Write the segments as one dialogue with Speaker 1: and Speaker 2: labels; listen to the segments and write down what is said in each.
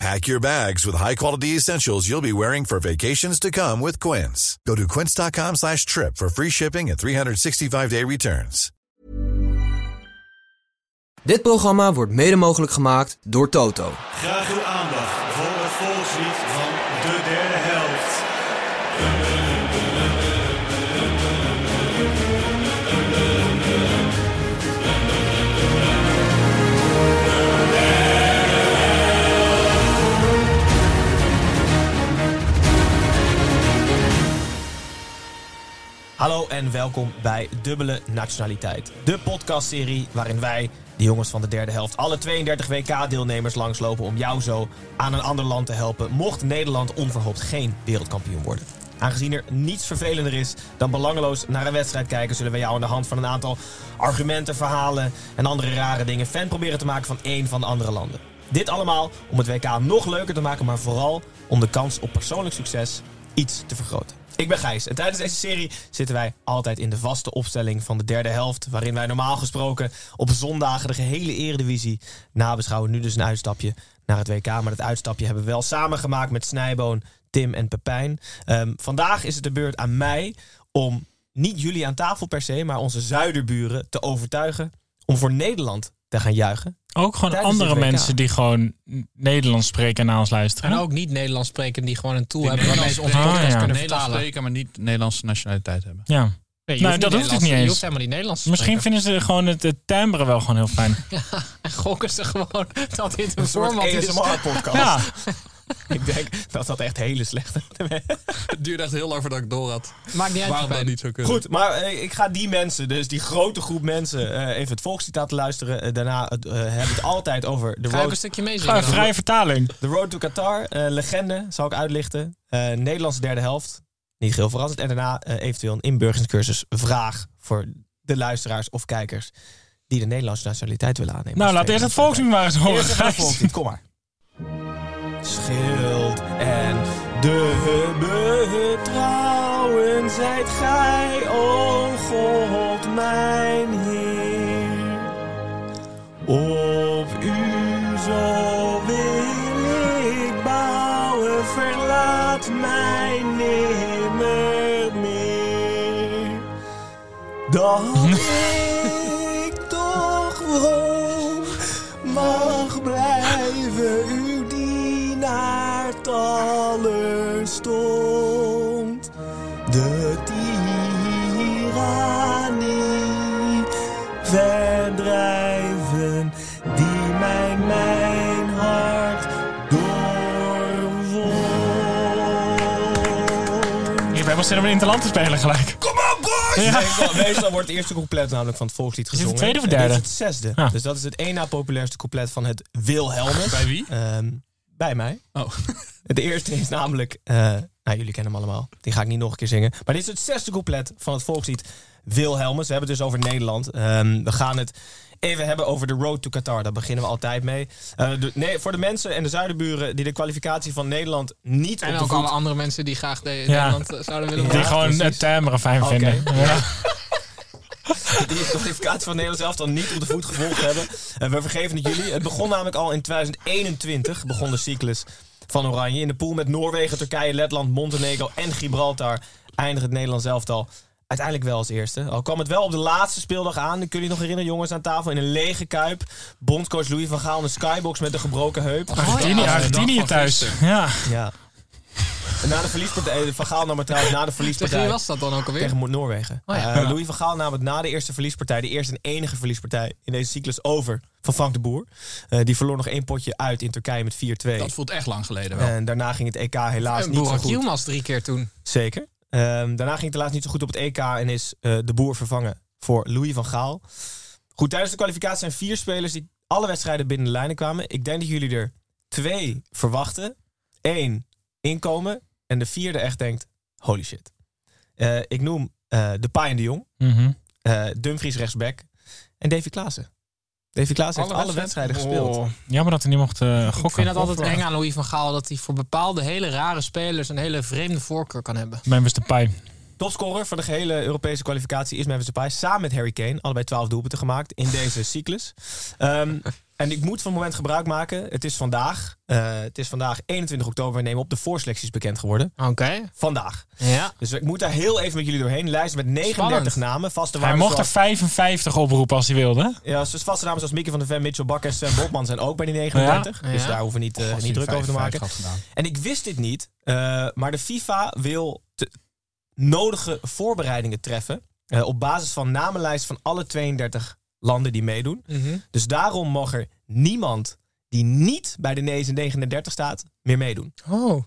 Speaker 1: Pack your bags with high-quality essentials you'll be wearing for vacations to come with Quince. Go to quince.com slash trip for free shipping and 365-day returns.
Speaker 2: Dit programma wordt mede mogelijk gemaakt door Toto.
Speaker 3: Graag uw aandacht voor het volkslied van de derde helft.
Speaker 4: Hallo en welkom bij Dubbele Nationaliteit. De podcastserie waarin wij, de jongens van de derde helft, alle 32 WK-deelnemers langslopen om jou zo aan een ander land te helpen. Mocht Nederland onverhoopt geen wereldkampioen worden. Aangezien er niets vervelender is dan belangeloos naar een wedstrijd kijken, zullen we jou aan de hand van een aantal argumenten, verhalen en andere rare dingen fan proberen te maken van één van de andere landen. Dit allemaal om het WK nog leuker te maken, maar vooral om de kans op persoonlijk succes iets te vergroten. Ik ben Gijs en tijdens deze serie zitten wij altijd in de vaste opstelling van de derde helft. Waarin wij normaal gesproken op zondagen de gehele eredivisie nabeschouwen. Nu dus een uitstapje naar het WK. Maar dat uitstapje hebben we wel samengemaakt met Snijboon, Tim en Pepijn. Ehm, vandaag is het de beurt aan mij om niet jullie aan tafel per se, maar onze zuiderburen te overtuigen om voor Nederland te gaan juichen.
Speaker 5: Ook gewoon
Speaker 4: Tijdens
Speaker 5: andere
Speaker 4: het WK.
Speaker 5: mensen die gewoon Nederlands spreken en naar ons luisteren.
Speaker 6: En ook niet Nederlands spreken die gewoon een tool hebben waarmee
Speaker 7: Nederlands
Speaker 6: ze ons
Speaker 5: spreken.
Speaker 6: podcast
Speaker 5: Ah, ja.
Speaker 6: kunnen
Speaker 7: Nederlands
Speaker 6: vertalen.
Speaker 7: spreken, maar niet Nederlandse nationaliteit hebben.
Speaker 5: Ja.
Speaker 6: Nee,
Speaker 5: Nou, dat hoeft het niet
Speaker 6: Nederlands- Je
Speaker 5: eens.
Speaker 6: hoeft helemaal niet Nederlands te
Speaker 5: Misschien
Speaker 6: spreken.
Speaker 5: vinden ze gewoon het, het timbre wel gewoon heel fijn.
Speaker 6: En gokken ze gewoon dat dit een
Speaker 4: Een soort
Speaker 6: format dus- is.
Speaker 4: ASMR-podcast.
Speaker 5: Ja,
Speaker 4: Ik denk dat dat echt hele slechte
Speaker 7: Het duurde echt heel lang voordat ik door had.
Speaker 6: Maakt niet uit.
Speaker 7: Waarom dat
Speaker 6: Pepijn.
Speaker 7: niet zo kunnen.
Speaker 4: Goed, maar eh, ik ga die mensen, dus die grote groep mensen, eh, even het volkslied laten luisteren. Eh, daarna eh, hebben we het altijd over de
Speaker 6: Ga ik een
Speaker 4: road,
Speaker 6: stukje meezingen
Speaker 5: gewoon
Speaker 6: dan?
Speaker 5: vrije vertaling.
Speaker 4: the road to Qatar. eh, legende, zal ik uitlichten. Eh, Nederlandse derde helft. Niet heel verrassend. En daarna eh, eventueel een inburgeringscursus vraag voor de luisteraars of kijkers die de Nederlandse nationaliteit willen aannemen.
Speaker 5: Nou,
Speaker 4: Als
Speaker 5: laat eerst
Speaker 4: tweede
Speaker 5: het volkslied maar eens horen.
Speaker 4: Eerst even het
Speaker 5: Oh, Gijs.
Speaker 4: volkslied, kom maar. Schild en de trouwen zijt gij, o God, mijn Heer. Op u zo wil ik bouwen, verlaat mij nimmer meer. Dan ik toch gewoon mag blijven uw dienaar stond. De tirannie verdrijven die mij mijn hart doorwond.
Speaker 5: Ik heb helemaal zin om in het land te spelen gelijk.
Speaker 4: Kom op, boys! Meestal, meestal wordt het eerste couplet namelijk van het volkslied
Speaker 5: het
Speaker 4: gezongen.
Speaker 5: tweede of
Speaker 4: En dit
Speaker 5: derde? Ah.
Speaker 4: is het zesde.
Speaker 5: Ja.
Speaker 4: Dus dat is het één na populairste couplet van het Wilhelmus.
Speaker 7: Bij wie?
Speaker 4: Ehm, bij mij.
Speaker 7: Oh.
Speaker 4: De eerste is namelijk... eh, nou, jullie kennen hem allemaal. Die ga ik niet nog een keer zingen. Maar dit is het zesde couplet van het volkslied Wilhelmus. We hebben het dus over Nederland. Ehm, we gaan het even hebben over de road to Qatar. Daar beginnen we altijd mee. Eh, de- nee, voor de mensen en de zuidenburen die de kwalificatie van Nederland niet
Speaker 6: En
Speaker 4: op de
Speaker 6: ook alle
Speaker 4: voet...
Speaker 6: andere mensen die graag de, Nederland eh, zouden willen
Speaker 5: Die
Speaker 6: worden.
Speaker 5: gewoon het timbre fijn
Speaker 4: Oké.
Speaker 5: vinden. Ja.
Speaker 4: die de kwalificatie van Nederland zelf dan niet op de voet gevolgd hebben. En we vergeven het jullie. Het begon namelijk al in 2021, begon de cyclus van Oranje. In de pool met Noorwegen, Turkije, Letland, Montenegro en Gibraltar eindigt het Nederlands elftal uiteindelijk wel als eerste. Al kwam het wel op de laatste speeldag aan. Ik kun je nog herinneren, jongens, aan tafel in een lege kuip. Bondscoach Louis van Gaal in de skybox met de gebroken heup.
Speaker 5: Argentinië,
Speaker 7: ja.
Speaker 5: Argentinië
Speaker 7: Dag van
Speaker 5: thuis.
Speaker 7: gisteren.
Speaker 5: Ja.
Speaker 4: Ja. En na de verliespartij, eh, Van Gaal nam het trouwens na de
Speaker 6: Tegen
Speaker 4: verliespartij...
Speaker 6: wie was dat dan ook alweer?
Speaker 4: Tegen Mo- Noorwegen.
Speaker 6: Oh ja.
Speaker 4: Eh, Louis van Gaal nam het na de eerste verliespartij, de eerste en enige verliespartij in deze cyclus over van Frank de Boer. Eh, die verloor nog één potje uit in Turkije met 4-2.
Speaker 7: Dat voelt echt lang geleden wel.
Speaker 4: En daarna ging het EK helaas
Speaker 6: En
Speaker 4: Ah, niet zo
Speaker 6: Eh, Boerak
Speaker 4: goed.
Speaker 6: Yilmaz drie keer toen.
Speaker 4: Zeker. Ehm, daarna ging het helaas niet zo goed op het EK en is eh, de Boer vervangen voor Louis van Gaal. Goed, tijdens de kwalificatie zijn vier spelers die alle wedstrijden binnen de lijnen kwamen. Ik denk dat jullie er twee verwachten. Eén inkomen. En de vierde echt denkt, holy shit. Eh, ik noem eh, de Pai en de Jong.
Speaker 5: Mhm.
Speaker 4: eh, Dumfries rechtsback en Davy Klaassen. Davy Klaassen heeft alle wedstrijden gespeeld.
Speaker 5: Jammer dat hij niet mocht eh, gokken.
Speaker 6: Ik vind het altijd eng aan Louis van Gaal dat hij voor bepaalde hele rare spelers een hele vreemde voorkeur kan hebben.
Speaker 5: Memphis Depay.
Speaker 4: Topscorer van de gehele Europese kwalificatie is Memphis Depay. Samen met Harry Kane. Allebei 12 doelpunten gemaakt in deze cyclus. Ehm, en ik moet van het moment gebruik maken. Het is vandaag. eh, het is vandaag 21 oktober. We nemen op. De voorselecties bekend geworden.
Speaker 6: Oké.
Speaker 4: Vandaag.
Speaker 6: Ja.
Speaker 4: Dus ik moet daar heel even met jullie doorheen. Lijst met 39
Speaker 6: Spannend.
Speaker 4: namen. Vaste
Speaker 5: Hij
Speaker 4: waarden
Speaker 5: mocht er
Speaker 4: zoals-
Speaker 5: 55 oproepen als hij wilde. hè?
Speaker 4: Ja, dus vaste namen zoals Mieke van de Ven, Mitchell Bakker, Sven Botman zijn ook bij die 39.
Speaker 6: Ja.
Speaker 4: Dus
Speaker 6: Ja.
Speaker 4: daar hoeven we niet, eh, niet druk over te maken.
Speaker 7: gedaan.
Speaker 4: En ik wist dit niet, eh, maar de FIFA wil de nodige voorbereidingen treffen. eh, op basis van namenlijst van alle 32 landen die meedoen.
Speaker 6: Mhm.
Speaker 4: Dus daarom mag er niemand die niet bij de 39 E staat meer meermeedoen.
Speaker 6: Oh.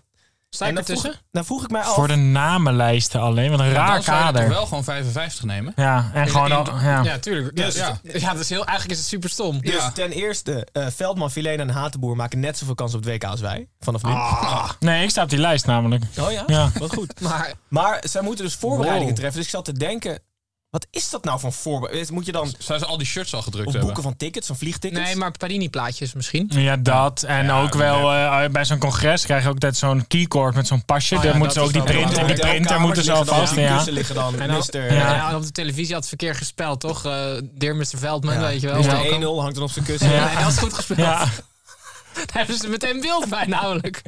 Speaker 6: Sta
Speaker 4: En
Speaker 6: ik
Speaker 4: dan vroeg,
Speaker 6: ertussen?
Speaker 4: dan vroeg ik mij af.
Speaker 5: Voor de namenlijsten alleen. Wat een
Speaker 7: Maar
Speaker 5: raar
Speaker 7: dan zou je toch
Speaker 5: kader.
Speaker 7: wel gewoon 55 nemen.
Speaker 5: Ja, en gewoon...
Speaker 6: In-
Speaker 5: al- ja.
Speaker 6: ja, tuurlijk. Ja,
Speaker 7: Dus-
Speaker 6: ja. Ja, dat is heel, eigenlijk is het super stom.
Speaker 4: Dus
Speaker 7: Ja.
Speaker 4: ten eerste, eh, Veldman, Filena en Hatenboer maken net zoveel kans op het WK als wij. Vanaf nu.
Speaker 5: Nee, ik sta op die lijst namelijk.
Speaker 4: Oh ja?
Speaker 5: Ja.
Speaker 4: Wat goed.
Speaker 6: Maar
Speaker 4: Maar zij moeten dus voorbereidingen
Speaker 5: Wow.
Speaker 4: treffen. Dus ik zat te denken, wat is dat nou van voorbereiding? Moet je dan...
Speaker 7: Zou ze al die shirts al gedrukt
Speaker 4: Of
Speaker 7: hebben?
Speaker 4: boeken van tickets, van vliegtickets?
Speaker 6: nee, maar Panini-plaatjes misschien.
Speaker 5: Ja, dat. En
Speaker 7: Ja,
Speaker 5: ook wel eh, bij zo'n congres krijg je ook altijd zo'n keycord met zo'n pasje.
Speaker 6: Oh ja,
Speaker 5: Daar moeten ze
Speaker 6: dat
Speaker 5: ook
Speaker 6: is
Speaker 5: die
Speaker 6: dan
Speaker 5: print
Speaker 6: wel
Speaker 5: en
Speaker 4: in
Speaker 5: die
Speaker 6: mooi.
Speaker 5: printer moeten ze alvast.
Speaker 4: Die
Speaker 5: Ja.
Speaker 4: kussen liggen dan,
Speaker 6: En dan,
Speaker 4: mister. eh,
Speaker 6: ja.
Speaker 5: Ja.
Speaker 6: op de televisie had het verkeer gespeld, toch? Eh Dear Mr. Veldman,
Speaker 4: Ja.
Speaker 6: weet je wel.
Speaker 4: Dus
Speaker 6: Welkom.
Speaker 4: de 1-0 hangt dan op zijn kussen.
Speaker 5: Ja.
Speaker 6: Nee, dat is goed gespeeld.
Speaker 5: Ja.
Speaker 6: Daar hebben ze meteen beeld bij, namelijk.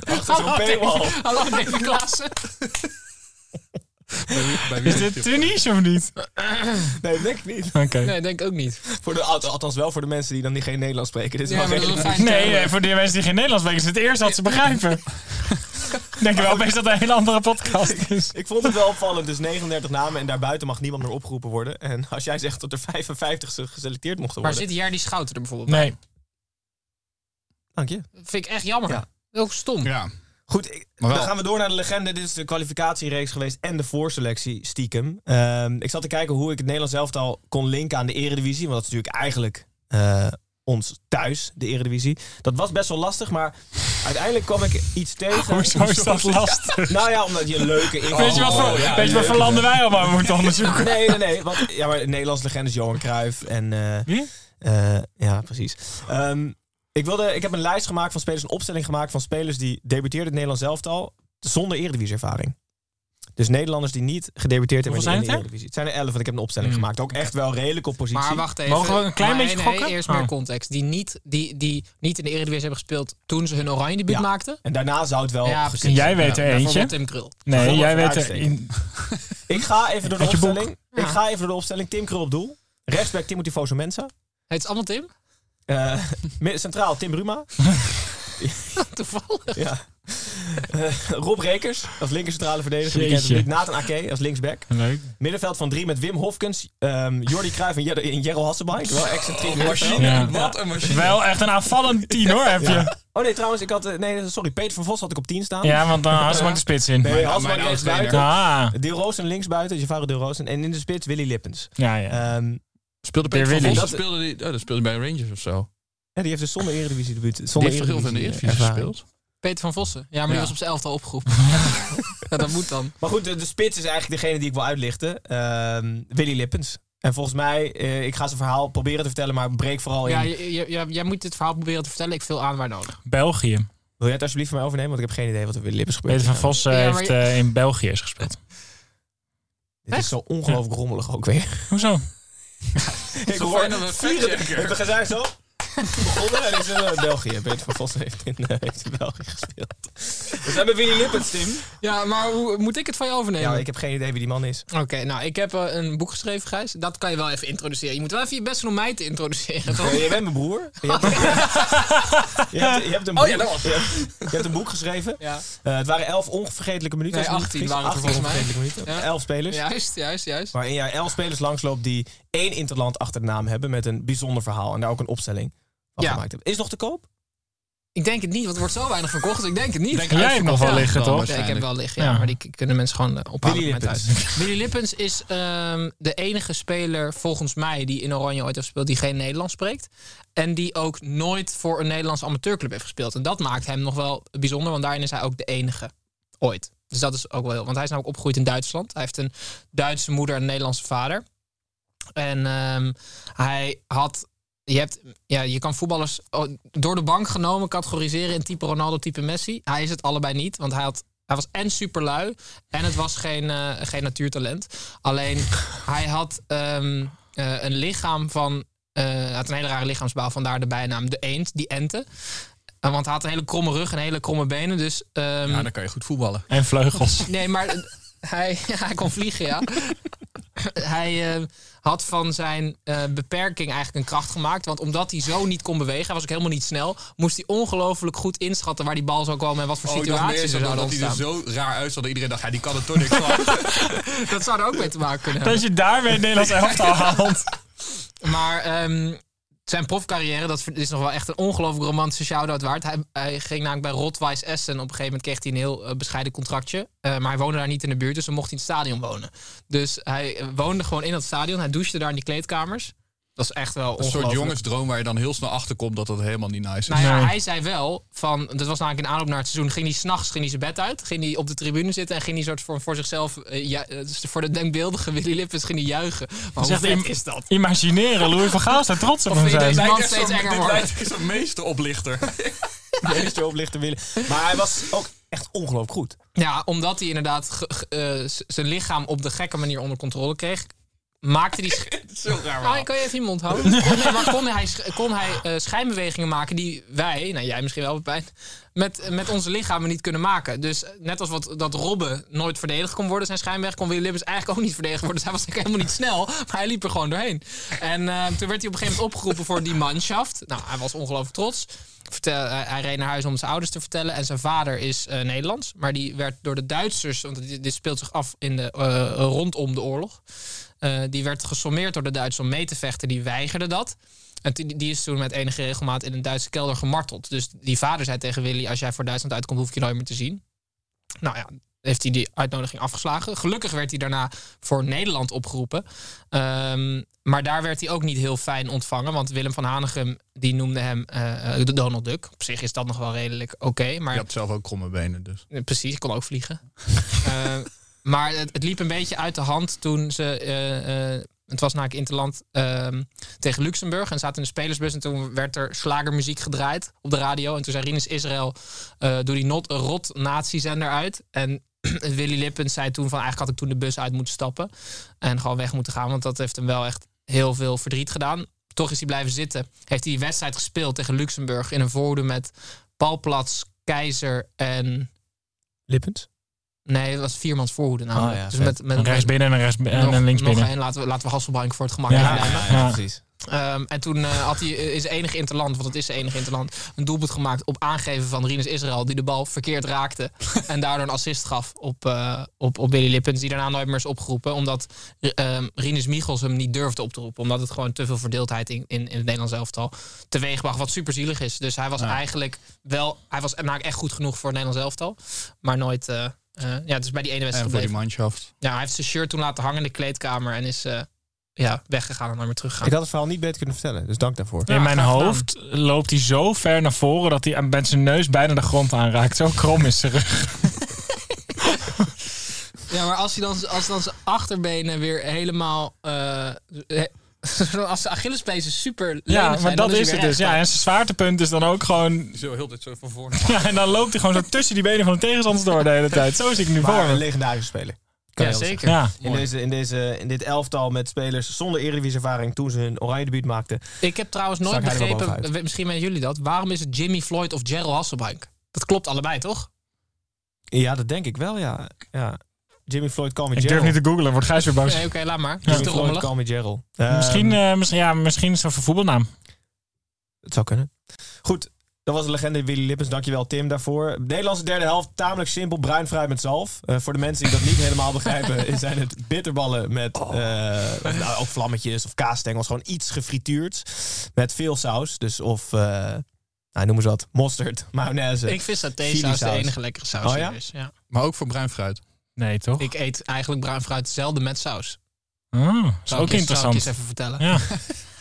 Speaker 4: Achter zo'n paywall.
Speaker 6: Hallo, David Klaassen.
Speaker 7: Bij wie
Speaker 5: Is dit
Speaker 7: het?
Speaker 5: Tunisië of niet?
Speaker 4: Nee, denk ik niet.
Speaker 5: Oké.
Speaker 6: Nee, denk ik ook niet.
Speaker 4: Voor de, al- althans wel voor de mensen die dan niet geen Nederlands spreken. Dit is
Speaker 6: Ja,
Speaker 4: wel
Speaker 6: maar dat is
Speaker 4: redelijk.
Speaker 6: een fijn
Speaker 5: Nee,
Speaker 6: term.
Speaker 5: eh, voor die mensen die geen Nederlands spreken, is het eerst dat ze begrijpen. Ik Denk wel opeens dat het een hele andere podcast is.
Speaker 4: Ik vond het wel opvallend. Dus 39 namen en daarbuiten mag niemand meer opgeroepen worden. En als jij zegt dat er 55 ze geselecteerd mochten
Speaker 6: Maar
Speaker 4: worden.
Speaker 6: zit hier die schouder er bijvoorbeeld
Speaker 5: Nee.
Speaker 4: Dank je.
Speaker 6: bij? Vind ik echt jammer.
Speaker 4: Ja.
Speaker 6: Ook stom.
Speaker 7: Ja,
Speaker 4: Goed, ik-
Speaker 7: Maar wel-
Speaker 4: dan gaan we door naar de legende. Dit is de kwalificatiereeks geweest en de voorselectie stiekem. Ehm, ik zat te kijken hoe ik het Nederlands elftal kon linken aan de eredivisie. Want dat is natuurlijk eigenlijk eh, ons thuis, de eredivisie. Dat was best wel lastig, maar uiteindelijk kwam ik iets tegen.
Speaker 5: Hoezo is dat lastig?
Speaker 4: Nou ja, omdat je een leuke...
Speaker 5: Weet je wat voor,
Speaker 7: ja,
Speaker 5: weet je wat
Speaker 4: leuke-
Speaker 5: voor landen wij allemaal moeten onderzoeken?
Speaker 4: Nee, nee, nee. Want, ja, maar de Nederlandse legende is Johan Cruijff en... eh,
Speaker 5: Wie?
Speaker 4: eh, ja, precies. Ehm, ik, wilde, ik heb een lijst gemaakt van spelers, een opstelling gemaakt van spelers die debuteerden in het Nederlands elftal zonder eredivisieervaring. Dus Nederlanders die niet gedebuteerd hebben
Speaker 5: Hoeveel
Speaker 4: in de
Speaker 5: zijn het
Speaker 4: Eredivisie. Het zijn er elf, want ik heb een opstelling gemaakt. Ook echt wel redelijk op positie.
Speaker 6: Maar wacht even.
Speaker 5: Mogen we een klein
Speaker 6: Maar
Speaker 5: beetje
Speaker 6: nee,
Speaker 5: gokken?
Speaker 6: Nee, eerst
Speaker 5: Oh.
Speaker 6: meer context. Die niet, die, die niet in de Eredivisie hebben gespeeld toen ze hun oranje debuut
Speaker 4: Ja.
Speaker 6: maakten.
Speaker 4: En daarna zou het wel...
Speaker 6: Ja,
Speaker 4: gekund
Speaker 6: precies.
Speaker 5: Jij weet er
Speaker 6: Ja,
Speaker 5: eentje.
Speaker 6: bijvoorbeeld Tim Krul.
Speaker 5: Nee, jij weet er...
Speaker 4: Uitstekend.
Speaker 5: in-
Speaker 4: Ik ga even door de
Speaker 5: Uit je boek.
Speaker 4: opstelling. Ik
Speaker 6: Ja.
Speaker 4: ga even door de opstelling. Tim Krul op doel. Rechtsback Timothy Foso Mensa.
Speaker 6: Heet ze allemaal Tim?
Speaker 4: Eh, mi- centraal Tim Bruma.
Speaker 6: Toevallig.
Speaker 4: Ja. Eh, Rob Rekers als linkercentrale verdediger. Die kent het
Speaker 5: Jeetje.
Speaker 4: niet. Nathan Ake als linksback.
Speaker 5: Leuk.
Speaker 4: Middenveld van drie met Wim Hofkens, ehm, Jordi Cruijff en, Jer en Jerro Hasselbaink. Wel excentriek. middenveld.
Speaker 7: machine.
Speaker 5: Ja.
Speaker 7: Wat een machine.
Speaker 5: Wel echt een aanvallend tien hoor, heb je.
Speaker 4: Oh nee, trouwens, ik had... eh, Nee, sorry, Peter van Vos had ik op 10 staan.
Speaker 5: Ja, want dan had ze maar de spits in.
Speaker 4: Nee,
Speaker 7: mijn
Speaker 4: Hasselbaink
Speaker 7: oude
Speaker 4: is
Speaker 7: trainer.
Speaker 4: buiten.
Speaker 5: Ah,
Speaker 4: Deel Roosen links buiten, Javaru Deel Roosen. En in de spits Willy Lippens.
Speaker 5: ja, ja.
Speaker 4: Ehm,
Speaker 7: Speelde
Speaker 5: Peter
Speaker 7: Peter van
Speaker 5: Willy.
Speaker 7: Vos, speelde die, oh, dat speelde hij bij Rangers of zo.
Speaker 4: ja, die heeft dus zonder eredivisie debuut.
Speaker 7: Die
Speaker 4: Zonder
Speaker 7: heeft toch heel veel in de Eredivisie
Speaker 4: ervaring.
Speaker 7: gespeeld?
Speaker 6: Peter van Vossen. Ja, maar die
Speaker 7: Ja.
Speaker 6: was op zijn elftal opgeroepen. ja, dat moet dan.
Speaker 4: Maar goed, de, de spits is eigenlijk degene die ik wil uitlichten. Ehm, Willy Lippens. En volgens mij, eh, ik ga zijn verhaal proberen te vertellen, maar breek vooral in.
Speaker 6: Oh, Ja, je- je- ja, jij moet dit verhaal proberen te vertellen. Ik vul aan waar nodig.
Speaker 5: België.
Speaker 4: Wil jij het alsjeblieft van mij overnemen? Want ik heb geen idee wat er met Willy Lippens gebeurt.
Speaker 5: Peter van Vos eh,
Speaker 6: Ja, maar
Speaker 5: heeft
Speaker 6: je-
Speaker 5: eh, in België eens gespeeld.
Speaker 4: Dit is zo ongelooflijk rommelig ook weer.
Speaker 5: Hoezo?
Speaker 4: Ik
Speaker 7: Zo
Speaker 4: hoor
Speaker 7: fijn dat we factchecker.
Speaker 4: We zijn zo begonnen en ik zit in eh, België. Peter van Vos heeft in, eh, heeft in België gespeeld. Dus we hebben Willy Lippens, Tim.
Speaker 6: Ja, maar hoe, moet ik het van je overnemen?
Speaker 4: Ja, ik heb geen idee wie die man is.
Speaker 6: Oké, nou, ik heb eh, een boek geschreven, Gijs. Dat kan je wel even introduceren. Je moet wel even je best doen om mij te introduceren, toch?
Speaker 4: Eh, je bent mijn broer. Je hebt, je hebt, je hebt een boek,
Speaker 6: Oh ja, dat was-
Speaker 4: je hebt, je hebt een boek geschreven.
Speaker 6: Ja.
Speaker 4: Eh, het waren elf onvergetelijke minuten.
Speaker 6: Nee,
Speaker 4: als ik me niet
Speaker 6: 18 waren het
Speaker 4: vergis.
Speaker 6: er volgens mij.
Speaker 4: 18 onvergetelijke minuten.
Speaker 6: Ja.
Speaker 4: Elf spelers.
Speaker 6: Juist, juist, juist.
Speaker 4: Waarin jij elf spelers langsloopt die één interland achter de naam hebben met een bijzonder verhaal. En daar ook een opstelling van
Speaker 6: Ja.
Speaker 4: gemaakt hebben. Is nog te koop?
Speaker 6: Ik denk het niet, want er wordt zo weinig verkocht. Ik denk het niet.
Speaker 7: Denk
Speaker 5: Jij hebt
Speaker 7: uitverkocht
Speaker 5: nog wel
Speaker 7: dan
Speaker 5: liggen, toch?
Speaker 6: Ja, ik heb wel liggen, ja,
Speaker 5: Ja.
Speaker 6: maar die k- kunnen mensen gewoon eh, ophalen.
Speaker 4: Willy
Speaker 6: op mijn
Speaker 4: Lippens.
Speaker 6: thuis. Willy Lippens is ehm, de enige speler, volgens mij, die in Oranje ooit heeft gespeeld, die geen Nederlands spreekt. En die ook nooit voor een Nederlands amateurclub heeft gespeeld. En dat maakt hem nog wel bijzonder, want daarin is hij ook de enige nou ooit. Dus dat is ook wel heel. Want hij is namelijk opgegroeid in Duitsland. Hij heeft een Duitse moeder en een Nederlandse vader. En ehm, hij had. Je, hebt, ja, je kan voetballers oh, door de bank genomen categoriseren in type Ronaldo, type Messi. Hij is het allebei niet, want hij, had, hij was en superlui en het was geen, eh, geen natuurtalent. Alleen hij had ehm, eh, een lichaam van. eh, hij had een hele rare lichaamsbouw, vandaar de bijnaam de eend, die ente. Eh, want hij had een hele kromme rug en hele kromme benen. Dus ehm,
Speaker 7: Ja, dan kan je goed voetballen.
Speaker 5: En vleugels.
Speaker 6: Nee, maar eh, hij, hij kon vliegen, ja. hij eh, had van zijn eh, beperking eigenlijk een kracht gemaakt. Want omdat hij zo niet kon bewegen, hij was ook helemaal niet snel... moest hij ongelooflijk goed inschatten waar die bal zou komen... en wat voor
Speaker 7: Oh, ik dacht meer
Speaker 6: situaties er
Speaker 7: zo
Speaker 6: zouden
Speaker 7: dat hij er
Speaker 6: ontstaan.
Speaker 7: zo raar uitzag dat iedereen dacht, ja, die kan het toch niks van.
Speaker 6: Dat zou er ook mee te maken kunnen hebben.
Speaker 5: Dat je daarmee het Nederlands elftal haalt.
Speaker 6: Maar ehm, zijn profcarrière, dat is nog wel echt een ongelooflijk romantische shout-out waard. Hij, hij ging namelijk bij Rotweiss Essen. Op een gegeven moment kreeg hij een heel eh, bescheiden contractje. Eh, maar hij woonde daar niet in de buurt, dus dan mocht hij in het stadion wonen. Dus hij eh, woonde gewoon in dat stadion. Hij douchte daar in die kleedkamers. Dat is echt wel
Speaker 7: Een
Speaker 6: ongelooflijk.
Speaker 7: soort jongensdroom waar je dan heel snel achter komt dat dat helemaal niet nice is.
Speaker 6: Nou ja,
Speaker 5: Nee.
Speaker 6: hij zei wel van, dat was namelijk in aanloop naar het seizoen, ging hij s'nachts zijn bed uit, ging hij op de tribune zitten en ging hij soort voor, voor zichzelf, eh, ja, eh, voor de denkbeeldige Willy Lippens, ging hij juichen. Maar hoe
Speaker 5: Zegt
Speaker 6: vet
Speaker 5: im-
Speaker 6: is dat?
Speaker 5: Imagineren, Louis van Gaal zou trots op
Speaker 6: Of
Speaker 5: hem
Speaker 6: vind je
Speaker 5: zijn.
Speaker 6: dit
Speaker 7: Lijkt
Speaker 6: man
Speaker 7: echt
Speaker 6: steeds
Speaker 7: zo'n-
Speaker 6: enger
Speaker 7: dit
Speaker 6: worden.
Speaker 7: lijkt echt zo'n meesteroplichter.
Speaker 4: Meester oplichter willen. Maar hij was ook echt ongelooflijk goed.
Speaker 6: Ja, omdat hij inderdaad ge- ge- eh, z- zijn lichaam op de gekke manier onder controle kreeg, maakte hij. sch-
Speaker 7: Zo raar
Speaker 6: Ah, kan je even je mond houden? Nee, maar kon hij, sch- kon hij eh, schijnbewegingen maken die wij, nou jij misschien wel, pijn, met, met onze lichamen niet kunnen maken. Dus eh, net als wat, dat Robben nooit verdedigd kon worden, zijn schijnweg kon Willy Lippens eigenlijk ook niet verdedigd worden. Dus hij was eigenlijk helemaal niet snel, maar hij liep er gewoon doorheen. En eh, toen werd hij op een gegeven moment opgeroepen voor die manschaft. Nou, hij was ongelooflijk trots. Vertel, hij, hij reed naar huis om zijn ouders te vertellen. En zijn vader is eh, Nederlands. Maar die werd door de Duitsers, want dit, dit speelt zich af in de, eh, rondom de oorlog. Eh, die werd gesommeerd door de Duitsers om mee te vechten. Die weigerde dat. En toen- die is toen met enige regelmaat in een Duitse kelder gemarteld. Dus die vader zei tegen Willy: Als jij voor Duitsland uitkomt, hoef ik je nooit meer te zien. Nou ja, heeft hij die uitnodiging afgeslagen. Gelukkig werd hij daarna voor Nederland opgeroepen. Ehm, maar daar werd hij ook niet heel fijn ontvangen. Want Willem van Hanegem die noemde hem eh, eh, de Donald Duck. Op zich is dat nog wel redelijk oké. maar
Speaker 7: Je had zelf ook kromme benen, dus.
Speaker 6: eh, Precies, ik kon ook vliegen. Eh, maar het, het liep een beetje uit de hand toen ze. eh, eh, het was na het Interland ehm, tegen Luxemburg en zaten in de spelersbus. En toen werd er slagermuziek gedraaid op de radio. En toen zei Rinus Israël, eh, doe die not, rot nazi-zender uit. En Willy Lippens zei toen van, eigenlijk had ik toen de bus uit moeten stappen. En gewoon weg moeten gaan, want dat heeft hem wel echt heel veel verdriet gedaan. Toch is hij blijven zitten. Heeft hij die wedstrijd gespeeld tegen Luxemburg in een voorhoede met Paul Plats, Keizer en...
Speaker 4: Lippens?
Speaker 6: Nee, dat was viermans voorhoede namelijk.
Speaker 4: Oh ja,
Speaker 6: dus
Speaker 4: vet.
Speaker 6: met, met
Speaker 5: Ah Een rechts binnen en een, rechts en een links
Speaker 6: nog
Speaker 5: binnen.
Speaker 6: één. Laten we, laten we Hasselbank voor het gemak
Speaker 5: Ja.
Speaker 6: inleiden.
Speaker 5: Ja.
Speaker 4: precies.
Speaker 6: Ehm, en toen eh, had hij eh, in zijn enige interland, want het is zijn enige interland, een doelpunt gemaakt op aangeven van Rinus Israël, die de bal verkeerd raakte. en daardoor een assist gaf op, eh op, op Billy Lippens, die daarna nooit meer is opgeroepen. Omdat ehm Rinus Michels hem niet durfde op te roepen. Omdat het gewoon te veel verdeeldheid in, in, in het Nederlands elftal teweegbracht, wat superzielig is. Dus hij was eigenlijk wel, hij was namelijk echt goed genoeg voor het Nederlands elftal, maar nooit. eh, eh, ja, dus bij die ene wedstrijd
Speaker 7: En voor die
Speaker 6: gebleven.
Speaker 7: manschaft.
Speaker 6: Ja, hij heeft zijn shirt toen laten hangen in de kleedkamer en is eh, ja, weggegaan en nooit meer teruggegaan.
Speaker 4: Ik had het verhaal niet beter kunnen vertellen, dus dank daarvoor. nou,
Speaker 5: In mijn
Speaker 6: graag gedaan.
Speaker 5: hoofd loopt hij zo ver naar voren dat hij aan- met zijn neus bijna de grond aanraakt. Zo krom is zijn rug.
Speaker 6: Ja, maar als hij dan, als dan zijn achterbenen weer helemaal. eh, eh, als de Achillespezen super. lenig
Speaker 5: Ja,
Speaker 6: zijn,
Speaker 5: maar dat
Speaker 6: dan
Speaker 5: is
Speaker 6: hij
Speaker 5: het
Speaker 6: weer
Speaker 5: dus. Ja,
Speaker 6: rechtop.
Speaker 5: en zijn zwaartepunt is dan ook gewoon...
Speaker 7: Zo heel dit zo van voor.
Speaker 5: Ja, en dan loopt hij gewoon zo tussen die benen van de tegenstanders door de hele tijd. Zo zie ik nu voor
Speaker 4: Maar een
Speaker 5: me.
Speaker 4: legendarische speler. Kan
Speaker 6: ja
Speaker 4: heel zeggen.
Speaker 6: zeker.
Speaker 5: Ja.
Speaker 4: In, deze, in, deze, in dit elftal met spelers zonder eredivisie-ervaring toen ze hun oranje debuut maakten.
Speaker 6: Ik heb trouwens nooit
Speaker 4: Stak hij er wel
Speaker 6: begrepen,
Speaker 4: bovenuit.
Speaker 6: eh, misschien met jullie dat, waarom is het Jimmy Floyd of Gerald Hasselbank? Dat klopt allebei, toch?
Speaker 4: Ja, dat denk ik wel, ja. ja. Jimmy Floyd, call me
Speaker 5: Ik durf
Speaker 4: Gerald.
Speaker 5: niet te googlen, wordt Gijs weer boos.
Speaker 6: Nee, oké, laat maar. Dat is
Speaker 4: Jimmy
Speaker 6: te
Speaker 4: Floyd,
Speaker 6: rommelig.
Speaker 4: call me Gerald.
Speaker 5: Misschien,
Speaker 4: Ehm,
Speaker 5: eh, misschien, ja, misschien is het een voetbalnaam.
Speaker 4: Het zou kunnen. Goed, dat was de legende Willy Lippens. Dankjewel Tim daarvoor. Nederlandse derde helft, tamelijk simpel. Bruin fruit met zalf. Eh, voor de mensen die dat niet helemaal begrijpen, zijn het bitterballen met
Speaker 7: Oh.
Speaker 4: eh, nou, ook vlammetjes of kaasstengels. Gewoon iets gefrituurd met veel saus. Dus of, eh, nou, noem eens wat, mosterd, mayonaise.
Speaker 6: Ik vind dat deze saus de
Speaker 4: Chilisaus.
Speaker 6: enige lekkere saus
Speaker 4: Oh ja?
Speaker 6: hier is. Ja.
Speaker 7: Maar ook voor bruin fruit.
Speaker 5: Nee, toch?
Speaker 6: Ik eet eigenlijk bruin fruit zelden met saus.
Speaker 5: Ah, dat is ook
Speaker 6: Zou ik je- Zou ik je
Speaker 5: interessant.
Speaker 6: eens even vertellen.
Speaker 5: Ja.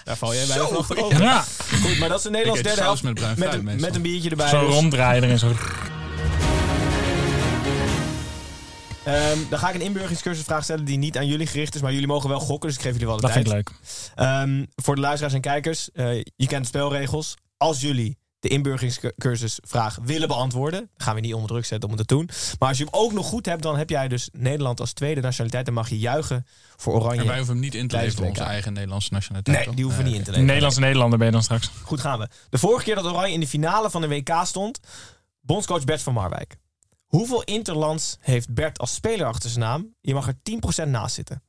Speaker 4: Daar val jij bijna vanaf over.
Speaker 5: ja,
Speaker 4: Goed, maar dat is de
Speaker 7: Ik
Speaker 4: Nederlandse
Speaker 7: eet
Speaker 4: derde
Speaker 7: saus
Speaker 4: helft.
Speaker 7: met bruin
Speaker 4: Met
Speaker 7: fruit
Speaker 4: een, Dus, met
Speaker 7: meestal.
Speaker 4: een biertje erbij.
Speaker 5: zo
Speaker 4: dus.
Speaker 5: ronddraaien en zo.
Speaker 4: Eh, Ehm, dan ga ik een inburgeringscursusvraag stellen die niet aan jullie gericht is, maar jullie mogen wel gokken, dus ik geef jullie wel de
Speaker 5: Dat
Speaker 4: tijd.
Speaker 5: vind ik leuk.
Speaker 4: Ehm, voor de luisteraars en kijkers, eh, je kent de spelregels. Als jullie de inburgeringscursusvraag willen beantwoorden, gaan we niet onder druk zetten om het te doen. Maar als je hem ook nog goed hebt, dan heb jij dus Nederland als tweede nationaliteit. Dan mag je juichen voor Oranje.
Speaker 7: En wij hoeven hem niet in te
Speaker 4: Tijdens
Speaker 7: leveren, onze
Speaker 4: WK.
Speaker 7: eigen Nederlandse nationaliteit.
Speaker 4: Nee,
Speaker 7: toch?
Speaker 4: die hoeven we niet in te
Speaker 5: Een
Speaker 4: leveren.
Speaker 5: Nederlandse Nederlander ben je dan straks.
Speaker 4: Goed gaan we. De vorige keer dat Oranje in de finale van de WK stond, bondscoach Bert van Marwijk. Hoeveel interlands heeft Bert als speler achter zijn naam? Je mag er 10% naast zitten.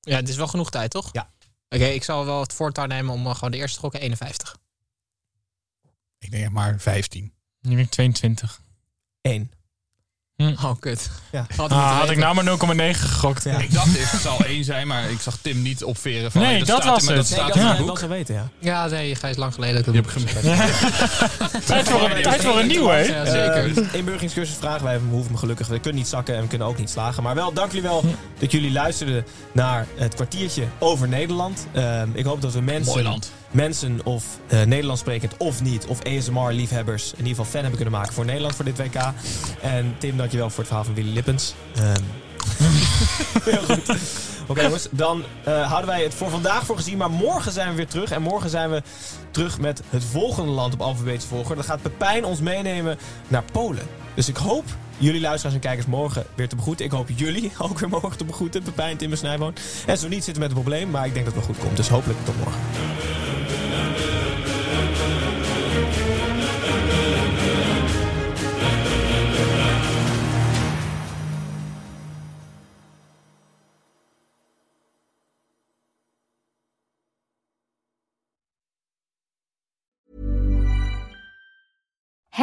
Speaker 6: Ja, het is wel genoeg tijd, toch?
Speaker 4: Ja.
Speaker 6: Oké, ik zal wel het voortouw nemen om eh, gewoon de eerste gokken 51.
Speaker 7: Ik denk maar 15.
Speaker 5: Nu ben ik 22.
Speaker 4: 1.
Speaker 6: Oh, kut.
Speaker 4: Ja.
Speaker 6: Had ik, moeten
Speaker 5: Ah, had
Speaker 6: weten.
Speaker 5: ik nou maar 0,9 gegokt.
Speaker 4: Ja.
Speaker 7: Ik dacht, het zal één zijn, maar ik zag Tim niet opveren van...
Speaker 5: Nee,
Speaker 7: hey,
Speaker 5: dat
Speaker 7: staat
Speaker 5: was
Speaker 7: in- maar
Speaker 5: het.
Speaker 7: Dat
Speaker 5: Nee,
Speaker 7: staat
Speaker 5: dat
Speaker 7: in
Speaker 5: was het.
Speaker 7: mijn
Speaker 4: Dat
Speaker 7: boek.
Speaker 4: zou weten, ja.
Speaker 6: Ja, nee, Gijs, lang geleden. dat ik
Speaker 7: Je
Speaker 6: dat
Speaker 7: hebt
Speaker 6: boek heb
Speaker 7: gemist.
Speaker 5: Tijd voor een, tijd voor een nieuwe, hè?
Speaker 6: Ja, zeker.
Speaker 4: Eh, inburgeringscursus vragen wij, we hoeven hem gelukkig, we kunnen niet zakken en we kunnen ook niet slagen. Maar wel, dank jullie wel dat jullie luisterden naar het kwartiertje over Nederland. Ehm, ik hoop dat we
Speaker 7: Mooi
Speaker 4: mensen,
Speaker 7: land.
Speaker 4: mensen of eh Nederlands sprekend of niet, of ASMR-liefhebbers, in ieder geval fan hebben kunnen maken voor Nederland voor dit WK. En Tim, dankjewel voor het verhaal van Willy Lippens. Ehm, Heel goed. Oké jongens, dan eh, houden wij het voor vandaag voor gezien. Maar morgen zijn we weer terug. En morgen zijn we terug met het volgende land op alfabetische volger. Dan gaat Pepijn ons meenemen naar Polen. Dus ik hoop jullie luisteraars en kijkers morgen weer te begroeten. Ik hoop jullie ook weer morgen te begroeten. Pepijn, Tim en Snijboon. En zo niet zitten we met een probleem. Maar ik denk dat het wel goed komt. Dus hopelijk tot morgen.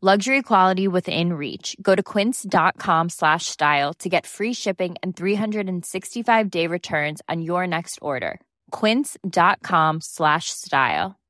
Speaker 8: Luxury quality within reach. Go to quince.com slash style to get free shipping and 365 day returns on your next order. Quince.com slash style.